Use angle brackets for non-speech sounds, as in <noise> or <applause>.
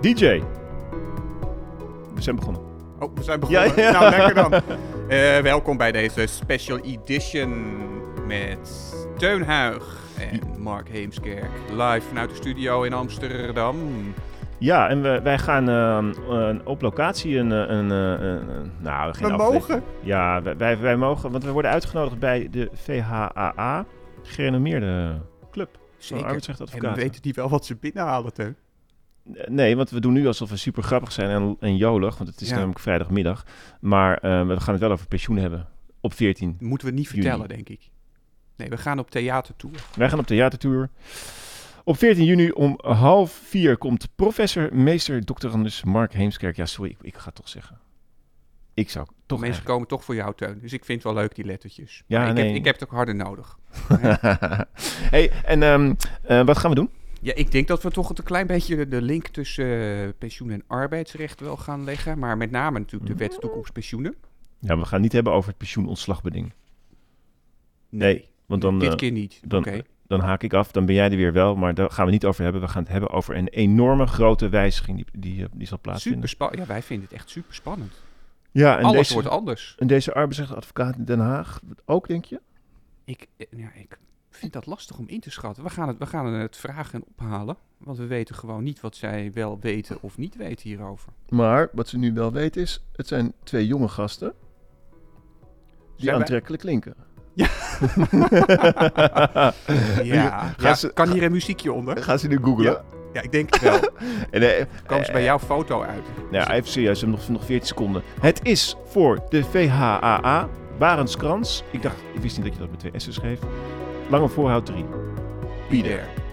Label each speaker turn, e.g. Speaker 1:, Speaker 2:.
Speaker 1: DJ. We zijn begonnen.
Speaker 2: Oh, we zijn begonnen.
Speaker 1: Ja, ja.
Speaker 2: Nou, lekker dan. Eh, welkom bij deze special edition met Teunhuig en Mark Heemskerk. Live vanuit de studio in Amsterdam.
Speaker 1: Ja, en we, wij gaan ehm, een- op locatie een... eh, een, eh, een- een- nou, geen
Speaker 2: We
Speaker 1: aflevering.
Speaker 2: mogen.
Speaker 1: Ja, wij- wij, wij mogen, want we worden uitgenodigd bij de VHAA, gerenommeerde club. Van
Speaker 2: Zeker. En
Speaker 1: arbeidsrechtadvocaten.
Speaker 2: weten die wel wat ze binnenhalen, Teun?
Speaker 1: Eh, Nee, want we doen nu alsof we super grappig zijn en, en jolig, want het is
Speaker 2: Ja.
Speaker 1: namelijk vrijdagmiddag. Maar eh, we gaan het wel over pensioen hebben. Op 14.
Speaker 2: Moeten we niet
Speaker 1: Jullie.
Speaker 2: vertellen, denk ik. Nee, we gaan op theatertour.
Speaker 1: Wij gaan op theatertour. Op 14 juni om half vier komt professor, meester, doctorandus Mark Heemskerk. Ja, sorry, ik, ik ga het toch zeggen. Ik zou toch
Speaker 2: Mensen
Speaker 1: eigenlijk...
Speaker 2: komen toch voor jou, Teun. Dus ik vind het wel leuk, die lettertjes.
Speaker 1: Ja,
Speaker 2: Maar ik,
Speaker 1: nee.
Speaker 2: heb, ik heb het ook harder nodig.
Speaker 1: <laughs> hey, en ehm, eh, wat gaan we doen?
Speaker 2: Ja, ik denk dat we toch een klein beetje de link tussen eh, pensioen en arbeidsrecht wel gaan leggen. Maar met name natuurlijk de
Speaker 1: Mm.
Speaker 2: wet toekomstpensioenen.
Speaker 1: Ja, we gaan het niet hebben over het pensioenontslagbeding. Nee, want dan,
Speaker 2: Dit
Speaker 1: eh,
Speaker 2: keer niet. Oké.
Speaker 1: dan- dan haak ik af, dan ben jij er weer wel. Maar daar gaan we niet over hebben. We gaan het hebben over een enorme grote wijziging die, die, eh, die zal plaatsvinden.
Speaker 2: Super spannend. Ja, wij vinden het echt super spannend.
Speaker 1: Ja, en
Speaker 2: Alles
Speaker 1: deze,
Speaker 2: wordt anders.
Speaker 1: en deze arbeidsrechtadvocaat in Den Haag ook, denk je?
Speaker 2: Ik, eh, ja, ik vind dat lastig om in te schatten. We gaan, het, we gaan het vragen en ophalen. Want we weten gewoon niet wat zij wel weten of niet weten hierover.
Speaker 1: Maar wat ze nu wel weten is, het zijn twee jonge gasten die
Speaker 2: Zijn wij-
Speaker 1: aantrekkelijk klinken. <laughs>
Speaker 2: Ja. Ja, <laughs> ja,
Speaker 1: gaan ze-
Speaker 2: kan hier een muziekje onder?
Speaker 1: Gaan ze nu googlen?
Speaker 2: Ja. Ja, ik denk het wel.
Speaker 1: En, eh,
Speaker 2: <laughs> Komen ze bij jouw foto uit?
Speaker 1: nou, even serieus, we hebben nog, nog 40 seconden. Het is voor de VHAA, Barends Krans. Ik dacht, ik wist niet dat je dat met twee S'en schreef. Lange voorhoud 3.
Speaker 2: Be there.